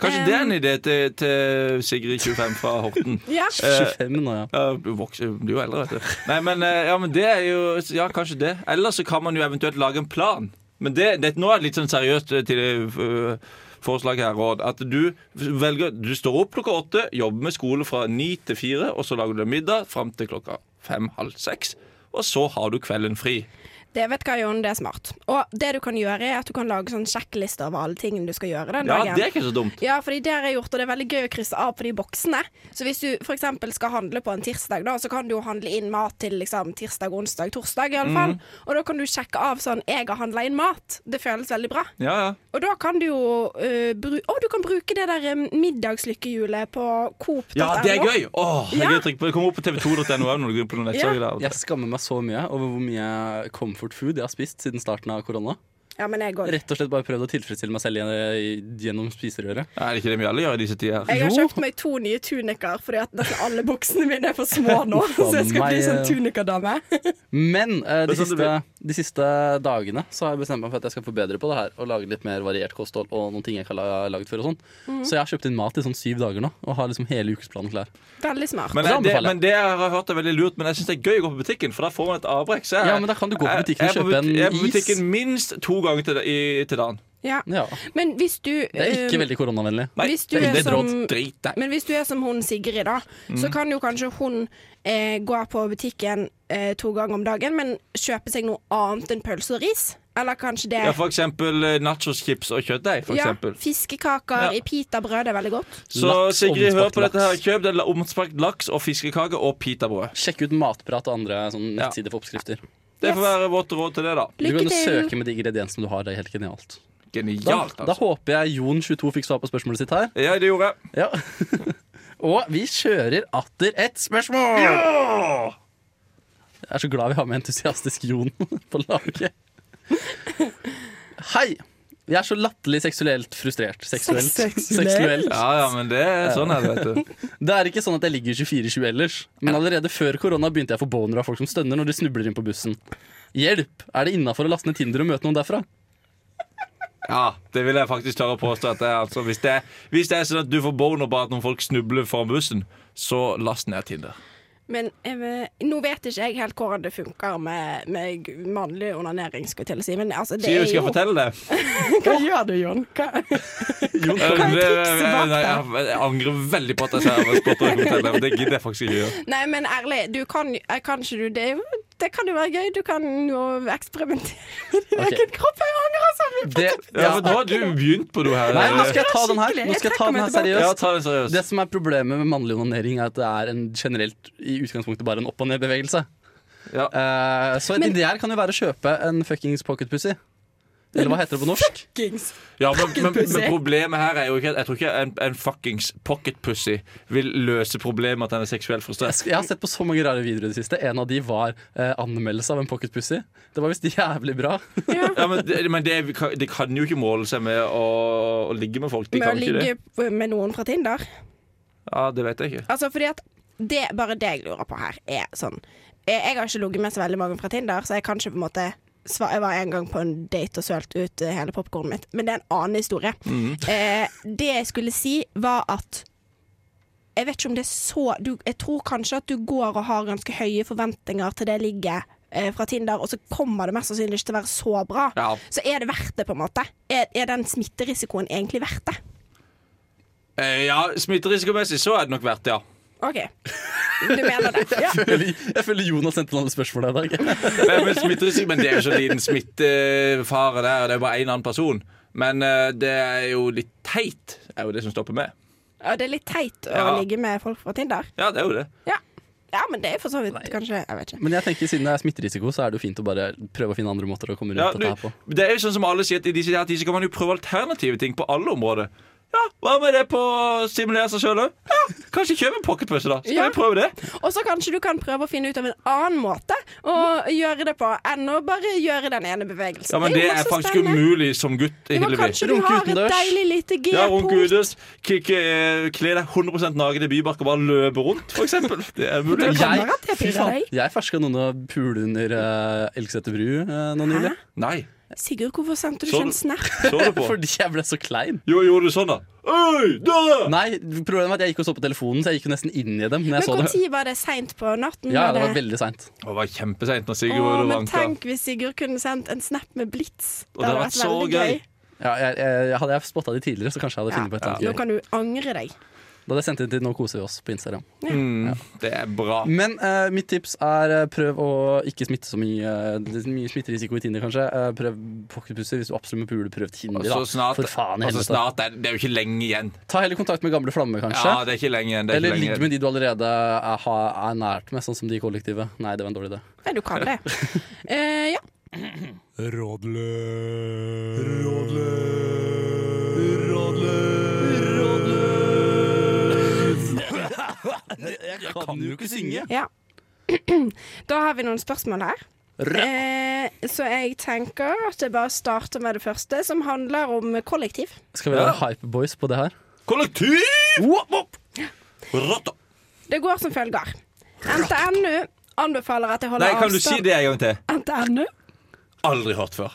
D: Kanskje
E: Eh,
D: det er en idé til, til Sigrid 25 fra Horten.
E: Ja.
D: Eh.
A: 25 nå, ja.
D: Ja, du vokser, du blir jo eldre, vet du. Nei, men, eh, ja, men det er jo Ja, kanskje det. Eller så kan man jo eventuelt lage en plan. Men det, det, nå er det litt sånn seriøst eh, til eh, forslaget her, Råd. At du velger Du står opp klokka åtte, jobber med skole fra ni til fire, og så lager du middag fram til klokka fem-halv seks. Og så har du kvelden fri.
E: Det vet hva, Jon, det er smart. Og det du kan gjøre, er at du kan lage sånn sjekkliste over alle tingene du skal gjøre den
D: Ja,
E: dagen.
D: det er ikke så dumt.
E: Ja, fordi det har jeg gjort, og det er veldig gøy å krysse av på de boksene. Så hvis du f.eks. skal handle på en tirsdag, da, så kan du jo handle inn mat til liksom, tirsdag, onsdag, torsdag i alle fall.
A: Mm.
E: Og da kan du sjekke av sånn 'Jeg har handla inn mat'. Det føles veldig bra.
D: Ja, ja.
E: Og da kan du jo øh, bru Å, du kan bruke det der eh, middagslykkehjulet på coop.no.
D: Ja, det er gøy! Åh, det er
E: Ja.
D: gøy å trykke på. Det kommer opp på tv2.no òg når du går på noen nettsider. der.
A: Jeg skammer meg så mye over hvor mye comfort food jeg har spist siden starten av korona.
E: Ja, men jeg går.
A: Rett og slett bare prøvd å tilfredsstille meg selv igjen- gjennom spiserøret.
D: Nei, Er det ikke det vi alle gjør i disse tider?
E: Jeg har
A: Jo.
E: kjøpt meg to nye tuniker, fordi at nesten alle boksene mine er for små nå.
A: Faen
E: så jeg skal bli
A: meg,
E: sånn
A: eh.
E: tunikerdame.
A: Men eh, de,
D: Det er sånn det
A: siste, de siste dagene så har jeg bestemt meg for at jeg skal forbedre på det her og lage litt mer variert kosthold og noen ting jeg ikke har la- lagd før. og sånn Så jeg har kjøpt inn mat i sånn syv dager nå og har liksom hele ukesplanen klar.
E: Veldig smart.
D: Men
A: Og det
D: det,
A: anbefaler jeg.
D: men det jeg har hørt er veldig lurt, men jeg syns det er gøy å gå på butikken, for da får man et avbrekk. Så jeg,
A: Ja, men da kan du gå på
D: jeg-
A: butikken og
D: jeg er på
A: kjøpe en
D: but- Jeg er på
A: is.
D: butikken minst to ganger til, i, til dagen.
E: ja.
A: Ja,
E: Men hvis du
A: Det er ikke
E: eh,
A: veldig koronavennlig.
D: Nei,
E: Hvis du
D: det
E: er
D: det
E: som-
D: drått drit, nei.
E: Men hvis du er som hun Sigrid, da, så
D: Mm.
E: kan jo kanskje hun eh, gå på butikken eh, to ganger om dagen, men kjøpe seg noe annet enn pølse og ris. Eller kanskje det
D: Ja, for eksempel eh, nachoschips og kjøttdeig, for
E: Ja,
D: eksempel. Ja.
E: Fiskekaker i pitabrød er veldig godt.
D: Så
A: Laks,
D: Sigrid, hør
A: omspakt
D: på dette her.
A: laks.
D: Kjøp den omspakt laks og fiskekake og pitabrød.
A: Sjekk ut Matprat og andre sånn
D: Ja.
A: nettsider for oppskrifter.
D: Det får
E: Yes.
D: være vårt råd til det, da.
A: Du
E: Lykke
A: kan jo
E: til!
A: søke med de ingrediensene du har. Det er helt genialt. Da,
D: Genialt,
A: da
D: altså.
A: håper jeg Jon22 fikk svar på spørsmålet sitt her.
D: Ja, det gjorde jeg.
A: Ja. og vi kjører atter et spørsmål! Jeg er så glad vi har med entusiastisk Jon på laget. Hei. Jeg er så latterlig seksuelt frustrert. Seksuelt.
E: Seksuelt.
A: Seksuelt.
D: Ja, ja, men det er sånn her, vet du.
A: Det er ikke sånn at jeg ligger 24-7 ellers, men allerede før korona begynte jeg å få boner av folk som stønner når de snubler inn på bussen. Hjelp! Er det innafor å laste ned Tinder og møte noen derfra?
D: Ja, det vil jeg faktisk tørre å påstå. At det er, altså, hvis, det er, hvis det er sånn at du får boner bare at noen folk snubler foran bussen, så last ned Tinder.
E: Men eh, nå vet ikke jeg helt hvordan det funker med, med mannlig onanering, skulle jeg til å si. Men altså, det
D: Sier
E: er
D: du skal
E: jo
D: fortelle det?
E: Hva gjør du, Jon? Hva?
D: Eh,
E: Hva er
D: det-
E: trikset bak
D: nei, Jeg jeg angrer veldig på at jeg sa jeg var spotter i hotellet. men Det gidder jeg faktisk ikke gjøre.
E: Nei, men ærlig, du kan, eh, kan ikke du det, er jo- det kan jo være gøy. Du kan jo eksperimentere med din
A: Ok.
E: egen kropp. Jeg angrer så mye!
A: Det,
D: Ja, for nå har du begynt på noe her.
A: Nei, nå skal jeg ta den her.
E: Skikkelig.
A: Nå skal jeg ta den her
E: Jeg
D: Ja,
A: seriøst.
D: ta den seriøst.
A: Det som er problemet med mannlig onanering, er at det er en generelt i utgangspunktet bare en opp- og nedbevegelse.
D: Ja.
A: Eh, så et
E: Men-
A: ideær kan jo være å kjøpe en fuckings pocketpussy. Eller hva heter det på norsk?
E: Gings.
D: Ja, men, men,
E: pussy.
D: men problemet her er jo ikke at Jeg tror ikke en, en fuckings pocketpussy vil løse problemet med at han er seksuelt
A: Jeg
D: frustrert.
A: sk- jeg har sett på så mange rare videoer i det siste. En av de var eh, anmeldelse av en pocketpussy. Det var visst jævlig bra.
D: Ja, men det, men det, kan- det kan jo ikke måle seg med å, å ligge med folk. De
E: Med å
D: kan ikke det.
E: ligge med noen fra Tinder.
D: Ja, Det vet jeg ikke.
E: Altså fordi at det, Bare det jeg lurer på her, er sånn Jeg, jeg har ikke ligget med så veldig mange fra Tinder, så jeg kan ikke på en måte sva- jeg var en gang på en date og sølte ut eh, hele popkornet mitt, men det er en annen historie.
D: Mhm.
E: Eh, det jeg skulle si, var at Jeg vet ikke om det er så du, Jeg tror kanskje at du går og har ganske høye forventninger til det ligget eh, fra Tinder, og så kommer det mest sannsynlig ikke til å være så bra.
D: Ja.
E: Så er det verdt det, på en måte? Er, er den smitterisikoen egentlig verdt det?
D: Eh, ja, Smitterisikomessig så er det nok verdt det, ja.
E: OK. Du mener det? Ja.
A: Eller, jeg føler Jonas sendte inn alle spørsmålene i dag.
D: Men, men, smitterisiko- men det er jo så liten smittefare der, og det er bare én annen person. Men eh, det er jo litt teit, er jo det som stopper meg.
E: Ja, det er litt teit å
D: Ja.
E: ligge med folk fra Tinder.
D: Ja, det er jo det.
E: Ja, ja men det er for så vidt kanskje Jeg vet ikke.
A: Men jeg tenker siden det er smitterisiko, så er det jo fint å bare prøve å finne andre måter å komme rundt
D: Ja,
A: dette her på.
D: du, det er jo sånn som alle sier at i disse her tider så kan man jo prøve alternative ting på alle områder. Ja, Hva med det på å stimulere seg sjøl òg? Ja, kanskje kjøpe en pocketpøsse, da. Skal
E: Ja.
D: vi prøve det?
E: Og så kanskje du kan prøve å finne ut av en annen måte å gjøre det på enn å bare gjøre den ene bevegelsen.
D: Ja, Men det
E: jo
D: er
E: masse
D: faktisk
E: spennende.
D: umulig som gutt,
E: Jo, men
D: Hillevi.
E: kanskje du
A: Runke
E: har et
A: utendørs.
E: deilig lite
D: Ja, runke
E: G-punkt.
D: utendørs, kikke, eh, kle deg 100 naken i bybark og bare løpe rundt, for eksempel. Det er mulig.
E: Det kan være at jeg
A: fy
E: pirrer
A: faen,
E: deg.
A: jeg ferska noen å pule under uh, Elgseter bru eh, nå nylig.
D: Nei.
E: Sigurd, hvorfor sendte du
D: Så
E: ikke en
D: du-
E: snap?
D: Så du på?
A: Fordi jeg ble så klein.
D: Jo, gjorde du sånn, da? Oi, da!
A: Nei, problemet var at jeg gikk og så på telefonen, så jeg gikk jo nesten inn i dem når
E: Men
A: jeg så det.
E: når var det? Seint på natten?
A: Ja, det var veldig seint.
D: Det var kjempeseint når
E: Å,
D: Sigurd var
E: men
D: vanka.
E: tenk hvis Sigurd kunne sendt en snap med blits.
D: Og det hadde vært så gøy.
A: Ja, jeg, jeg, hadde jeg spotta de tidligere, så kanskje jeg hadde funnet på et
E: Ja.
A: eller
E: Nå
A: annet gøy.
E: kan du angre deg.
A: Da hadde jeg sendt inn til Nå koser vi oss på Instagram.
D: Mm, det er bra.
A: Men eh, mitt tips er eh, prøv å ikke smitte så mye. eh, det er mye smitterisiko i Tinder, kanskje. Eh, prøv pocketpusser hvis du absolutt må pule. Prøv Tinder,
D: Og
A: da.
D: så snart,
A: For faen i
D: og så
A: helvete.
D: snart er, det er jo ikke lenge igjen.
A: Ta heller kontakt med gamle flammer, kanskje.
D: Ja, det er ikke lenge igjen. Det er
A: Eller
D: ikke lenge
A: ligg
D: igjen.
A: med de du allerede er, har- er nært med, sånn som de i kollektivet. Nei, det var en dårlig idé.
E: Nei, du kan det. Eh, ja.
A: Jeg kan jo ikke synge!
E: Ja. Da har vi noen spørsmål her. Eh, så jeg tenker at jeg bare starter med det første, som handler om kollektiv.
A: Skal vi være hypeboys på det her?
D: Kollektiv!
A: Wop, wop.
D: Rotta.
E: Det går som følger. NTNU anbefaler at jeg holder
D: Nei, kan du si
E: avstand
D: det en gang til?
E: NTNU?
D: Aldri hørt før.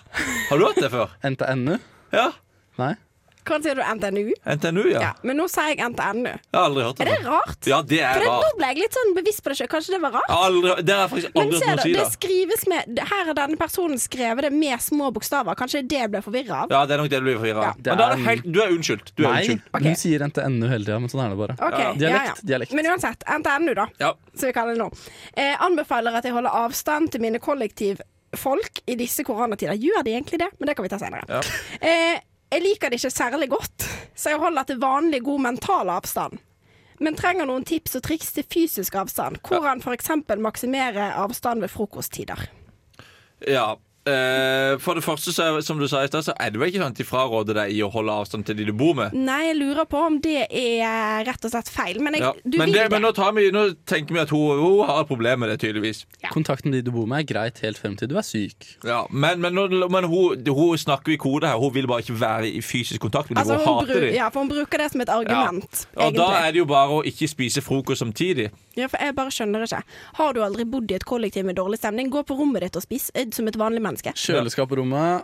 D: Har du hørt det før?
A: NTNU?
D: Ja.
A: Nei?
E: Hva sier du? NTNU?
D: NTNU, ja.
E: Ja, men nå sier jeg NTNU.
D: Jeg har aldri hørt det
E: Er det
D: før.
E: rart?
D: Ja, det
E: For
D: er
E: det, nå
D: rart.
E: ble jeg litt sånn bevisst på det sjøl. Kanskje det var
D: Jeg
E: rart?
D: har Aldri, det har jeg faktisk
E: Men
D: aldri hørt
E: ser
D: noen
E: du,
D: si,
E: det
D: da.
E: skrives med det- Her har denne personen skrevet det med små bokstaver. Kanskje det jeg ble forvirra av?
D: Ja, det er nok det du blir forvirra
E: Ja.
D: av. Men da er det helt, du er unnskyldt. Du er
A: Nei.
D: unnskyldt.
E: Ok.
A: Hun sier NTNU hele tida, men sånn er det bare.
E: Ok,
A: Ja.
E: ja, ja.
A: Dialekt, dialekt.
E: Men uansett, NTNU, da.
D: Ja.
E: som vi kaller det nå. Eh, anbefaler at jeg holder avstand til mine kollektivfolk i disse koronatider. Gjør de egentlig det? Men det kan vi ta senere.
D: Ja.
E: Eh, jeg liker det ikke særlig godt, så jeg holder til vanlig god mental avstand. Men trenger noen tips og triks til fysisk avstand. Hvordan f.eks. maksimere avstand ved frokosttider.
D: ja. Eh, for det første, så er, som du sa i stad, så er det vel ikke sånn at de fraråder deg i å holde avstand til de du bor med.
E: Nei, jeg lurer på om det er rett og slett feil, men jeg,
D: Ja.
E: du
D: Men,
E: vil
D: det,
E: det.
D: men nå, tar vi, nå tenker vi at hun, hun har et problem med det, tydeligvis.
A: Kontakt med de du bor med, er greit helt frem til du er syk.
D: Ja, men, men, nå- men hun, hun snakker jo i kode her. Hun vil bare ikke være i fysisk kontakt med dem.
E: altså,
D: hun,
E: hun,
D: hater
E: bru-
D: dem.
E: ja, for hun bruker det som et argument,
D: Og da
E: egentlig.
D: er det jo bare å ikke spise frokost samtidig.
E: Ja, for jeg bare skjønner ikke. Har du aldri bodd i et kollektiv med dårlig stemning, gå på rommet ditt og spis eh, som et vanlig menneske.
A: Kjøleskap på rommet.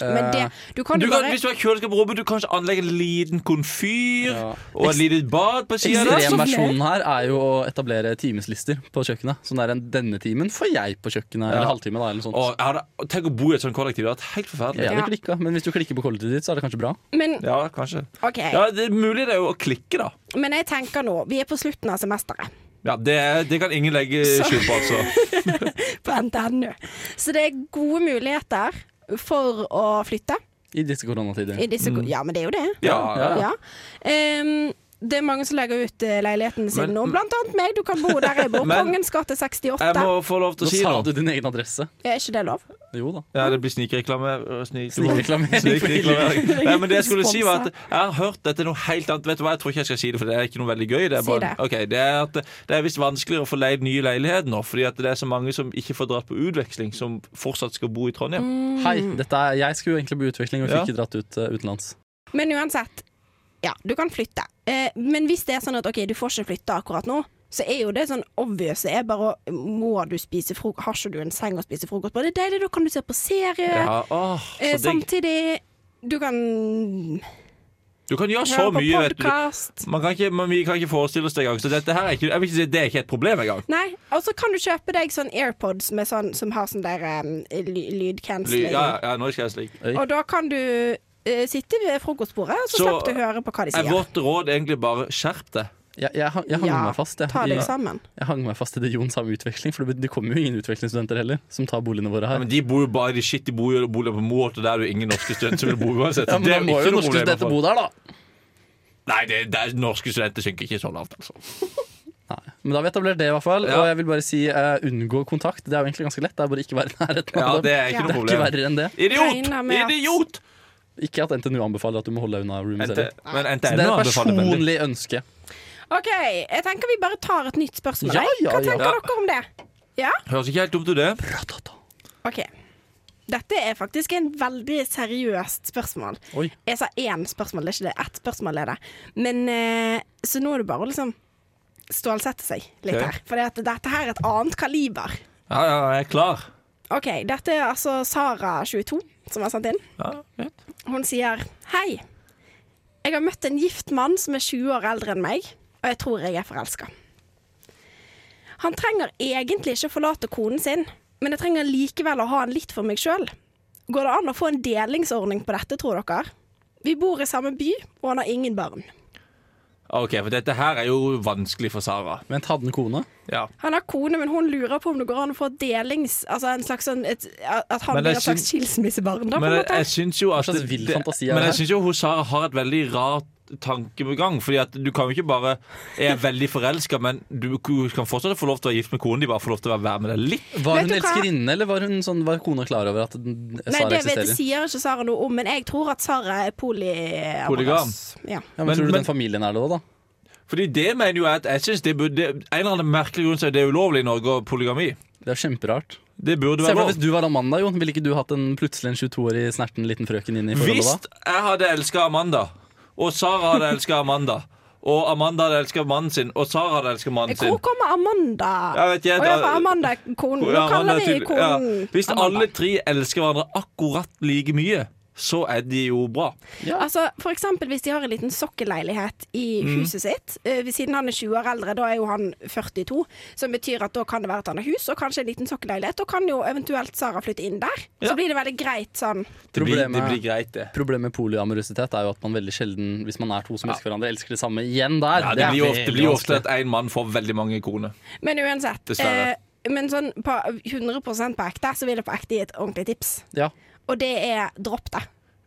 E: Men det, du kan
D: Du
E: jo
D: kan,
E: bare
D: hvis du har kjøleskap på rommet, du kan kanskje anlegge en liten konfyr
A: Ja.
D: og et lite bad på sida der.
A: Ekstremversjonen her er jo å etablere timeslister på kjøkkenet. Sånn der, denne timen får jeg på kjøkkenet, eller halvtime, da, eller noe sånt.
D: Og jeg hadde, tenk å bo i et sånt kollektiv. Det hadde vært helt
A: Jeg
D: forferdelig.
A: hadde
E: Ja.
A: klikka, men hvis du klikker på kollektivet ditt, så er det kanskje bra.
E: men,
D: Ja, kanskje.
E: ok.
D: Ja, det er mulig det er jo å klikke, da.
E: men jeg tenker nå, vi er på slutten av semesteret
D: Ja, Det, er- det kan ingen legge skjul på, altså.
E: på NTNU, så det er gode muligheter for å flytte
A: I disse koronatider.
D: Mm.
E: i disse ko- Ja, men det er jo det.
D: Ja, ja.
E: Ja. Ehm, det er mange som legger ut eh, leiligheten sin
D: Men-
E: nå. Blant annet meg, du kan bo der jeg bor.
D: Men-
E: Kongens gate 68.
D: Jeg må få lov til
A: Nå
D: å si
A: sa
D: noe.
A: du din egen adresse.
E: Er ikke det lov?
A: Jo da.
D: Ja, det blir snikreklame. øh, Snik,
A: Snikreklamering.
D: Snikreklamering. Nei, men det jeg skulle si var at
E: Sponsa.
D: Jeg har hørt dette er noe helt annet. Vet du hva, Jeg tror ikke jeg skal si det, for det er ikke noe veldig gøy. Det er,
E: Si
D: bare,
E: det.
D: Ok, det er, at det er visst vanskeligere å få leid nye leiligheter nå, fordi at det er så mange som ikke får dratt på utveksling, som fortsatt skal bo i
E: Mm.
D: Trondheim.
A: Hei, dette er, jeg skulle jo egentlig bli utveksling, og
D: Ja.
A: fikk ikke dratt ut eh, utenlands.
E: Men uansett, ja, du kan flytte. Eh, men hvis det er sånn at ok, du får ikke flytte akkurat nå, så er jo det sånn obvious. Det er bare å- Må du spise frokost? Har ikke du en seng å spise frokost på? Det er deilig, da kan du se på serie.
D: Ja, åh,
E: eh,
D: så digg.
E: samtidig Du kan
D: Du kan gjøre så
E: høre på
D: mye, vet du.
E: podkast.
D: Man kan ikke, man, vi kan ikke forestille oss det engang. Så dette her er ikke, jeg vil ikke si det er ikke et problem engang.
E: Nei, og så kan du kjøpe deg sånn AirPods med sånn, som har sånn der um, ly-
D: Ly-
E: lydcancelling.
D: Ja, ja, nå skal jeg slik.
E: Og da kan du eh, sitte ved frokostbordet, og så,
D: Så,
E: slapp du å høre på hva de
D: Er
E: sier.
D: vårt råd egentlig bare skjerp deg?
A: Jeg, jeg, hang- jeg hang
E: Ja,
A: meg fast jeg,
E: ta
A: i,
E: deg sammen.
A: jeg hang meg fast i det Jon sa om utveksling, for det, det kommer jo ingen utvekslingsstudenter heller som tar boligene våre
D: Ja,
A: her.
D: men de bor jo bare i de shitty boliger boliger på Moholt, og der er det jo ingen norske studenter som vil bo uansett.
A: Ja,
D: Så
A: men
D: det
A: da
D: er
A: må
D: ikke
A: jo
D: noe
A: norske
D: problem, i hvert
A: studenter
D: fall.
A: bo der, da.
D: Nei, det, det er, norske studenter synker ikke så lavt, altså.
A: Nei. Men da har vi etablert det, i hvert fall.
D: Ja.
A: Og jeg vil bare si eh, unngå kontakt. Det er jo egentlig ganske lett. Det er bare ikke være i nærheten
D: Ja,
A: av
D: det
A: dem.
D: er ikke
E: Ja.
D: noe
A: Ikke
D: problem.
A: verre enn det.
D: Idiot!
E: Regner med at-
D: Idiot!
A: Ikke at NTNU anbefaler at du må holde deg unna roomie
D: Ente,
A: heller. Så
D: men
A: det er
D: NTNU
A: et
D: anbefaler
A: personlig
D: veldig.
A: ønske.
E: OK, jeg tenker vi bare tar et nytt spørsmål.
A: Ja,
E: jeg.
A: ja,
E: Hva
A: ja.
E: tenker dere om det? Ja?
D: Høres ikke helt dumt ut, det.
E: OK. Dette er faktisk en veldig seriøst spørsmål.
A: Oi.
E: Jeg sa én spørsmål, det er ikke det. Ett spørsmål er det. Men, eh, så nå er det bare å liksom stålsette seg litt
D: Ok.
E: her. For dette, dette her er et annet kaliber.
D: Ja, ja, jeg er klar.
E: OK, dette er altså Sara22 som har sendt inn.
D: Ja, greit.
E: Hun sier Hei, jeg har møtt en gift mann som er 20 år eldre enn meg, og jeg tror jeg er forelska. Han trenger egentlig ikke forlate konen sin, men jeg trenger likevel å ha han litt for meg sjøl. Går det an å få en delingsordning på dette, tror dere? Vi bor i samme by, og han har ingen barn.
D: OK, for dette her er jo vanskelig for Sara.
A: Vent, hadde han kone?
D: Ja.
E: Han har kone, men hun lurer på om det går an å få delings... Altså en slags sånn et, At han
D: Men
E: blir
D: jeg
E: et slags skilsmissebarn, da, på
D: Men
E: en
D: jeg,
E: måte.
D: jeg syns jo at
A: slags vill fantasi er
D: men
A: det her?
D: jeg synes jo hun Sara har et veldig rart tankegang. Fordi at du kan jo ikke bare Jeg er veldig forelska, men du kan fortsatt få lov til å være gift med konen. De bare får lov til å være- være med deg litt.
A: Var
E: Vet
A: hun
E: du hva?
A: elskerinne, eller var, hun sånn, var kona klar over at den-
E: Nei,
A: Sara
E: det vet,
A: eksisterer?
E: sier ikke Sara noe om, men jeg tror at Sara er polyamorøs.
D: Polygam.
A: Ja,
E: Ja.
A: men,
D: Men-
A: tror du
D: men-
A: den familien er det òg, da?
D: Fordi det mener jo jeg at jeg synes det burde det, En eller annen merkelig grunn så er det ulovlig i Norge og polygami.
A: Det er jo kjemperart.
D: Det burde
A: Se
D: være
A: for deg
D: lov.
A: hvis du var Amanda, Jon. Ville ikke du hatt en plutselig en 22-årig snerten liten frøken inn i forholdet
D: Hvis
A: da?
D: jeg hadde elska Amanda, og Sara hadde elska Amanda, og Amanda hadde elska mannen sin, og Sara hadde elska mannen sin
E: Hvor kommer Amanda?
D: Jeg vet ikke, jeg-
E: Å ja, for Amanda er konen. Nå
D: Ja, Amanda
E: kaller
D: er
E: vi
D: tydelig-
E: konen
D: ja. Hvis alle tre elsker hverandre akkurat like mye, så er de jo bra.
E: Altså, for eksempel hvis de har en liten sokkeleilighet i
D: Mm.
E: huset sitt. eh, ved siden han er 20 år eldre, da er jo han 42. Som betyr at da kan det være at han har hus og kanskje en liten sokkeleilighet. Da kan jo eventuelt Sara flytte inn der.
D: Ja.
E: Så blir det veldig greit sånn.
D: Det blir, det
A: Problemet-
D: blir greit, det.
A: Problemet med polyamorøsitet er jo at man veldig sjelden, hvis man er to som elsker hverandre, elsker det samme igjen der.
D: Ja, det,
A: er
D: blir jo ofte, det
A: veldig
D: blir jo ofte
A: vanskelig.
D: at én mann får veldig mange koner.
E: Men uansett.
D: Dessverre.
E: men sånn på 100 på ekte, så vil jeg på ekte gi et ordentlig tips.
A: ja.
E: Og det er dropp det.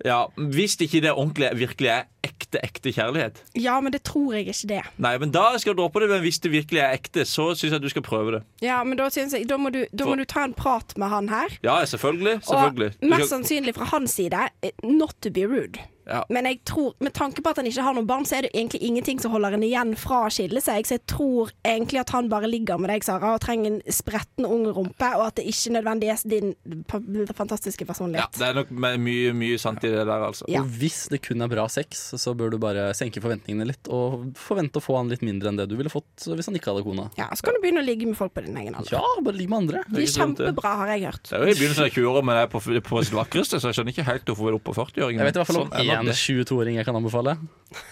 D: Ja, Hvis ikke det ordentlig virkelig er ekte, ekte kjærlighet.
E: Ja, men det tror jeg ikke det.
D: Nei, men da skal du droppe det, men hvis det virkelig er ekte, så syns jeg du skal prøve det.
E: Ja, men da, synes jeg, da, må du, da må du ta en prat med han her.
D: Ja, ja, selvfølgelig.
E: Og
D: selvfølgelig. Du
E: mest
D: skal-
E: sannsynlig fra hans side, eh, not to be rude.
D: Ja.
E: Men jeg tror, med tanke på at han ikke har noen barn, så er det egentlig ingenting som holder henne igjen fra å skille seg. Så jeg tror egentlig at han bare ligger med deg, Sara, og trenger en spretten ung rumpe, og at det ikke nødvendigvis er din pa- fantastiske
D: ja,
E: personlighet.
D: det er nok me- mye, mye sant i det der, altså.
E: Ja.
A: Og hvis det kun er bra sex, så bør du bare senke forventningene litt, og forvente å få han litt mindre enn det du ville fått hvis han ikke hadde kona.
E: Ja, så kan du begynne å ligge med folk på din egen alder.
A: Ja, bare ligg med andre.
E: De
D: ikke
E: er
D: sant, det.
E: kjempebra, har jeg hørt.
D: Det er jo i begynnelsen av 20-åra, men jeg er på, på sitt vakreste, så jeg skjønner ikke helt hvorfor vi er oppe på 40-åringen.
A: Jeg vet i hvert fall om
D: Sånn er nok
A: én
D: det.
A: 22-åring jeg kan anbefale.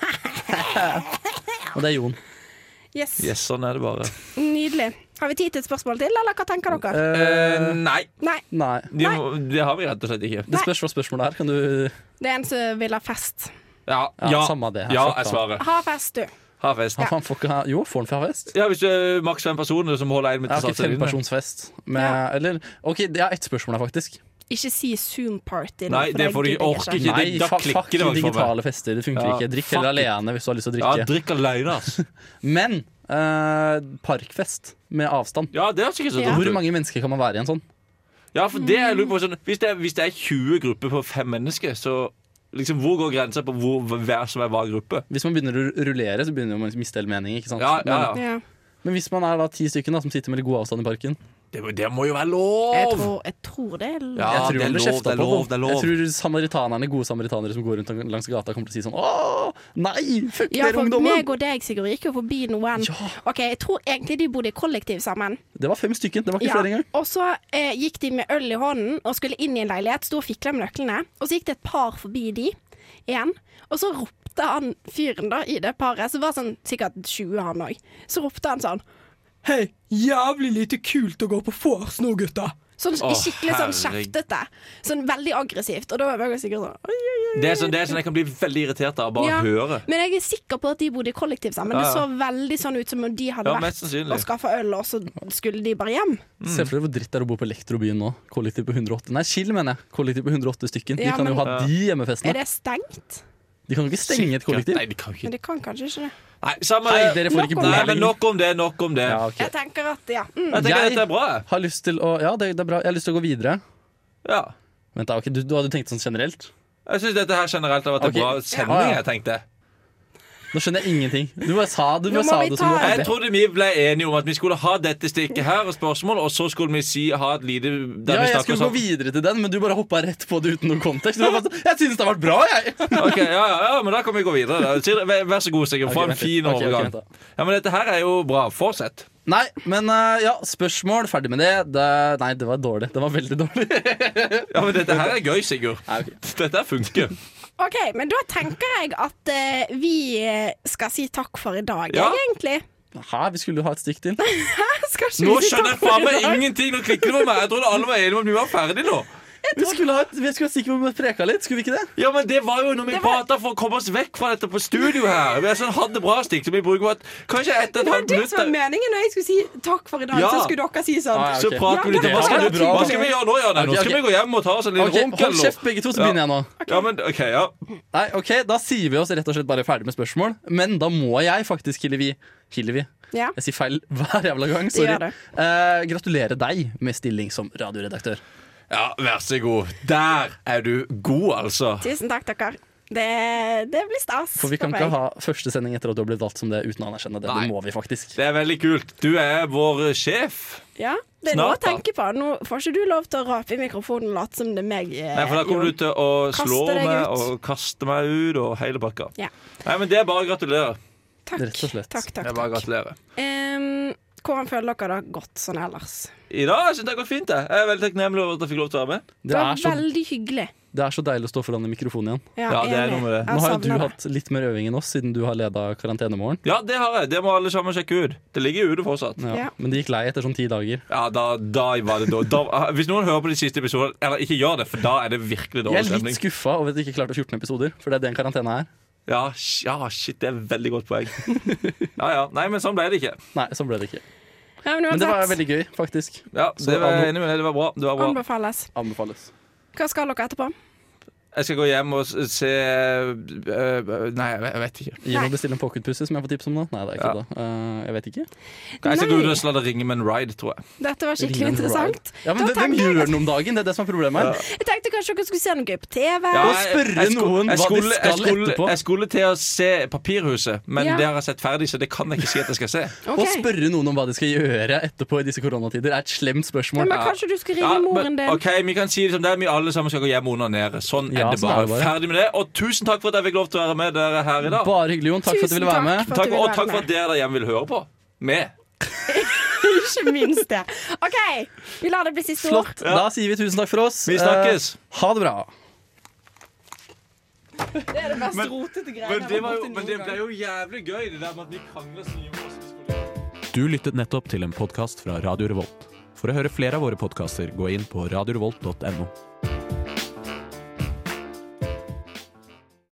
A: Og det er Jon.
E: Yes,
D: Yes, sånn er det bare.
E: Nydelig. Har vi tid til et spørsmål til, eller hva tenker dere?
D: Eh, nei,
E: Nei,
A: Nei.
D: de, må- det har vi rett og slett ikke.
A: Det spørs hva spørsmålet er. Kan du
E: det er en som vil ha fest.
D: Ja,
A: Ja,
D: ja,
A: samme det.
D: ja
A: Fuck
D: jeg
A: da.
D: svarer.
E: Ha fest, du.
D: Ha fest.
A: Han faen får ikke ha Jo, får han fra fest?
D: Ja, hvis du er maks fem personer som holder én
A: Jeg
D: meter
A: har ikke
D: avstand.
A: fempersonsfest. Med,
E: Ja.
A: Eller OK, det er ett spørsmål her, faktisk.
E: Ikke si Zoom party. nå,
D: Nei,
E: for
D: det får du
E: gidder jeg
D: orker ikke.
A: Nei,
D: Det, da
A: fa fuck
D: klikker det vel for meg.
A: digitale fester. Det funker
D: Ja,
A: ikke. Drikk
D: fuck
A: heller
D: it.
A: alene hvis du har lyst til å
D: Ja,
A: drikke.
D: drikk alene, altså.
A: Men eh, parkfest med avstand.
D: Ja, det er sikkert så
E: Ja.
A: Hvor
D: dumt. ut.
A: mange mennesker kan man være i en sånn?
D: Ja, for det jeg lurer på sånn, hvis, det er, hvis det er 20 grupper på fem mennesker, så liksom, hvor går grensa på hvor, hver som er hver gruppe?
A: Hvis man begynner å rullere, så begynner man å miste hele meningen. Ikke sant?
D: Ja, ja, ja.
E: Ja.
A: Men, men hvis man er da ti stykker da, som sitter med litt god avstand i parken
D: Det, må- det må jo være
E: Jeg
D: lov!
E: tror, jeg tror det er
A: Jeg tror
D: Ja, det
A: man blir
D: er lov,
A: kjefta
D: det er
A: på, da.
D: lov, det er lov.
A: Jeg tror samaritanerne, gode samaritanere som går rundt langs gata, kommer til å si sånn Åh, nei! Fuck
E: Ja,
A: dere,
E: for
A: ungdommen!
E: meg og deg, Sigurd, gikk jo forbi noen.
A: Ja.
E: Ok, Jeg tror egentlig de bodde i kollektiv sammen.
A: Det var fem stykker. Det var ikke
E: Ja.
A: flere engang.
E: Og så eh, gikk de med øl i hånden og skulle inn i en leilighet. Sto og fikla med nøklene. Og så gikk det et par forbi de igjen. Og så ropte han fyren da i det paret, som var sånn sikkert 20 han òg, så ropte han sånn
G: Hei, jævlig lite kult å gå på vors nå, gutta.
E: Sånn
D: Å,
E: skikkelig sånn
D: herregud.
E: kjeftete. Sånn veldig aggressivt. Og da var jeg sikkert sånn «Oi, oi, oi».
D: Det er, sånn, det er sånn jeg kan bli veldig irritert av å bare
E: Ja,
D: høre.
E: Men jeg er sikker på at de bodde i kollektiv sammen.
D: Ja,
E: Det
D: ja.
E: så veldig sånn ut som om de hadde
D: Ja, mest
E: vært
D: sannsynlig.
E: og skaffa øl, og så skulle de bare hjem.
A: Se for deg hvor dritt det er å bo på Elektrobyen nå. Kollektiv på 108. Nei, chill, mener jeg. Kollektiv på 108 stykken. De
E: Ja,
A: kan jo
E: men-
A: ha de hjemmefestene.
E: Er det stengt?
A: De kan jo ikke stenge et kollektiv.
D: Nei, de kan jo ikke.
E: Men de kan kanskje ikke det.
D: Nei, samme
A: Nei, dere får
E: Nok
A: ikke
E: om
A: bo
D: Nei,
A: her
D: men
A: lenger.
D: nok om det, nok om det.
A: Ja, ok.
E: Jeg tenker at ja.
D: Jeg
E: Mm.
D: tenker
A: Jeg-
D: at dette er bra. jeg.
A: Har lyst til å Ja, det, det er bra. Jeg har lyst til å gå videre.
D: Ja.
A: Vent da, ok, du, du hadde tenkt sånn generelt?
D: Jeg syns dette her generelt har vært en
A: Ok.
D: bra
A: Ja,
D: sending,
A: ja.
D: jeg tenkte.
A: Nå skjønner jeg ingenting. Du bare sa det. Du bare
E: Nå må
A: sa
E: vi
A: det
E: ta-
A: som var
D: Jeg
A: ferdig.
D: trodde vi ble enige om at vi skulle ha dette stikket her og spørsmål, og så skulle vi si ha et lite der
A: Ja,
D: vi
A: jeg
D: snakker sånn.
A: skulle gå
D: sammen.
A: videre til den, men du bare hoppa rett på det uten noen kontekst. Du var bare sånn, jeg synes det har vært bra, jeg!
D: Ok, ja, ja, ja, men da kan vi gå videre. Da. Sier- Vær vær så god, Sigurd.
A: Ok,
D: Få en
A: vent litt.
D: fin
A: Ok, ok,
D: overgang.
A: vent da.
D: Ja, men dette her er jo bra. Fortsett.
A: Nei, men eh, ja, spørsmål. Ferdig med det. det. Nei, det var dårlig. Det var veldig dårlig.
D: Ja, men dette her er gøy, Sigurd.
A: Nei, ok.
D: Dette her funker.
E: OK, men da tenker jeg at eh, vi eh, skal si takk for i dag,
D: Ja.
E: jeg, egentlig.
A: Hæ, vi skulle jo ha et stikk til.
E: Skal ikke
D: Nå
E: vi si
D: skjønner
E: takk
D: jeg
E: for
D: faen
E: i
D: meg
E: dag?
D: ingenting! Nå klikker det på meg. Jeg trodde alle var enige om at vi var ferdige nå.
A: Vi skulle ha et, vi skulle ha et stikk hvor vi preka litt, skulle vi ikke det?
D: Ja, men det var jo når vi prata for å komme oss vekk fra dette på studio her. Vi har sånn hadde bra stikk som vi bruker på at kanskje ett og
E: Det
D: et
E: var
D: halvt
E: det som var
D: minutt.
E: meningen når jeg skulle si takk for i dag.
D: Ja.
E: Så skulle dere si sånn.
A: Ah, ja.
D: Så
A: Ok.
D: prater vi
E: Ja,
D: litt om hva
E: det
D: skal,
E: var
D: vi-
A: bra.
D: hva skal vi gjøre nå, Janne? Nå
A: Ok,
D: skal
A: ok.
D: vi gå hjem og ta oss en
A: Ok,
D: liten runk
A: Hold
D: eller
A: kjeft,
D: noe.
A: begge to, så
D: Ja.
A: begynner jeg nå.
D: Ja, men ok, ja.
A: Nei, ok, Da sier vi oss rett og slett bare ferdig med spørsmål. Men da må jeg faktisk, Hillevi Hillevi.
E: Ja.
A: Jeg sier feil hver jævla gang.
E: gjør
A: Sorry.
E: det.
A: Eh, gratulerer deg med stilling som radioredaktør.
D: ja, vær så god. Der er du god, altså.
E: Tusen takk, dere. Det, det blir stas.
A: For vi kan
E: for
A: ikke
E: meg.
A: ha første sending etter at du har blitt valgt som det uten å anerkjenne det.
D: Nei.
A: Det må vi faktisk.
D: Det er veldig kult. Du er vår eh, sjef.
E: ja, Det er noe å
D: Snart, da.
E: tenke på. Nå får ikke du lov til å rape i mikrofonen og late som det er meg. eh,
D: Nei, for da kommer
E: Jon.
D: du til å
E: Kaste
D: slå
E: deg
D: meg
E: ut.
D: og kaste meg ut og hele pakka.
E: Ja.
D: Nei, men det er bare å gratulere.
E: Takk,
A: Rett og slett.
E: takk,
D: Det
E: takk.
D: er bare å gratulere.
E: Em, hvordan føler dere det godt sånn ellers?
D: I dag syns jeg det har gått fint. Jeg Jeg er veldig takknemlig over at jeg fikk lov til å være med.
A: Det
E: Det var
A: er så,
E: veldig hyggelig.
A: det er så deilig å stå foran en mikrofon igjen.
D: Ja, det er noe med det.
A: Nå har jo du hatt litt mer øving enn oss siden du har leda Karantenemorgen.
D: Ja, det har jeg. Det må alle sammen sjekke ut. Det ligger jo ute fortsatt.
A: Ja.
E: Ja.
A: Men det gikk lei etter sånn ti dager.
D: Ja, da, da var det da. da hvis noen hører på de siste episodene, eller ikke gjør det, for da er det virkelig
A: Jeg
D: dårlig
A: er litt
D: stemning.
A: skuffa over at vi ikke klarte 14 episoder, for det er det en karantene er.
D: Ja, sh- ja, shit, det er et veldig godt poeng. Ja, ja. Nei, men sånn ble det ikke.
A: Nei, sånn ble det ikke.
E: Ja, men,
A: Men det var
E: uansett,
A: veldig gøy, faktisk.
D: Ja,
A: Så
D: det var,
A: anbe-
D: jeg enig med deg. Det var bra. Det var bra.
E: Anbefales.
A: Anbefales.
E: Hva skal dere etterpå?
D: Jeg skal gå hjem og s- se øh, Nei, jeg vet- jeg vet ikke.
A: Gi
E: Nei.
A: meg å bestille en pocketpussy som jeg får tips om nå. Nei, det er ikke
D: Ja.
A: det. Eh, jeg vet ikke.
D: Jeg skal gå
E: Nei.
D: ut og så la det ringe med en ride, tror jeg.
E: Dette var
A: Ring
E: skikkelig
A: and
E: interessant.
A: Ja, men hvem- Hvem
E: Da tenker jeg
A: gjør
E: at-
A: den om dagen? Det er det som er problemet her.
E: Jeg tenkte kanskje dere skulle se noe gøy på TV.
A: Ja.
D: jeg-
A: spørre
D: jeg sko-
A: noen
D: jeg
A: hva de
D: skulle- jeg
A: skal
D: skulle-
A: etterpå.
D: Jeg skulle til å se Papirhuset, men
E: Ja.
D: det har jeg sett ferdig, så det kan jeg ikke si at jeg skal se.
E: Ok.
A: Å spørre noen om hva de skal gjøre etterpå i disse koronatider, er et slemt
E: Ja,
A: spørsmål.
E: men kanskje du skal ringe
D: Ja,
E: moren
D: men-
E: din?
D: Ok, Vi kan si det som det er. Vi alle sammen skal gå hjem og onanere. Sånn
A: Ja,
D: er det
A: sånn er
D: bare.
A: det bare.
D: Ferdig med det. Og tusen takk for at jeg fikk lov til å være med dere her i dag.
A: Bare hyggelig, Jon. Takk for at du
E: Tusen
A: ville være med.
E: for at
D: Takk,
E: du ville
D: og
E: være
D: takk for at
E: med.
D: dere der hjemme vil høre på. Med.
E: Ikke minst det. OK, vi lar det bli siste ord.
A: Flott. Da sier vi tusen takk for oss.
D: Vi snakkes.
A: Eh, ha det bra.
E: Mest rotete greiene
D: Men
E: jeg
D: det,
E: har vært borti noen gang.
D: ble jo jævlig gøy, det der med at vi krangler så mye.
B: Du lyttet nettopp til en podkast fra Radio Revolt. For å høre flere av våre podkaster, gå inn på radiorevolt.no.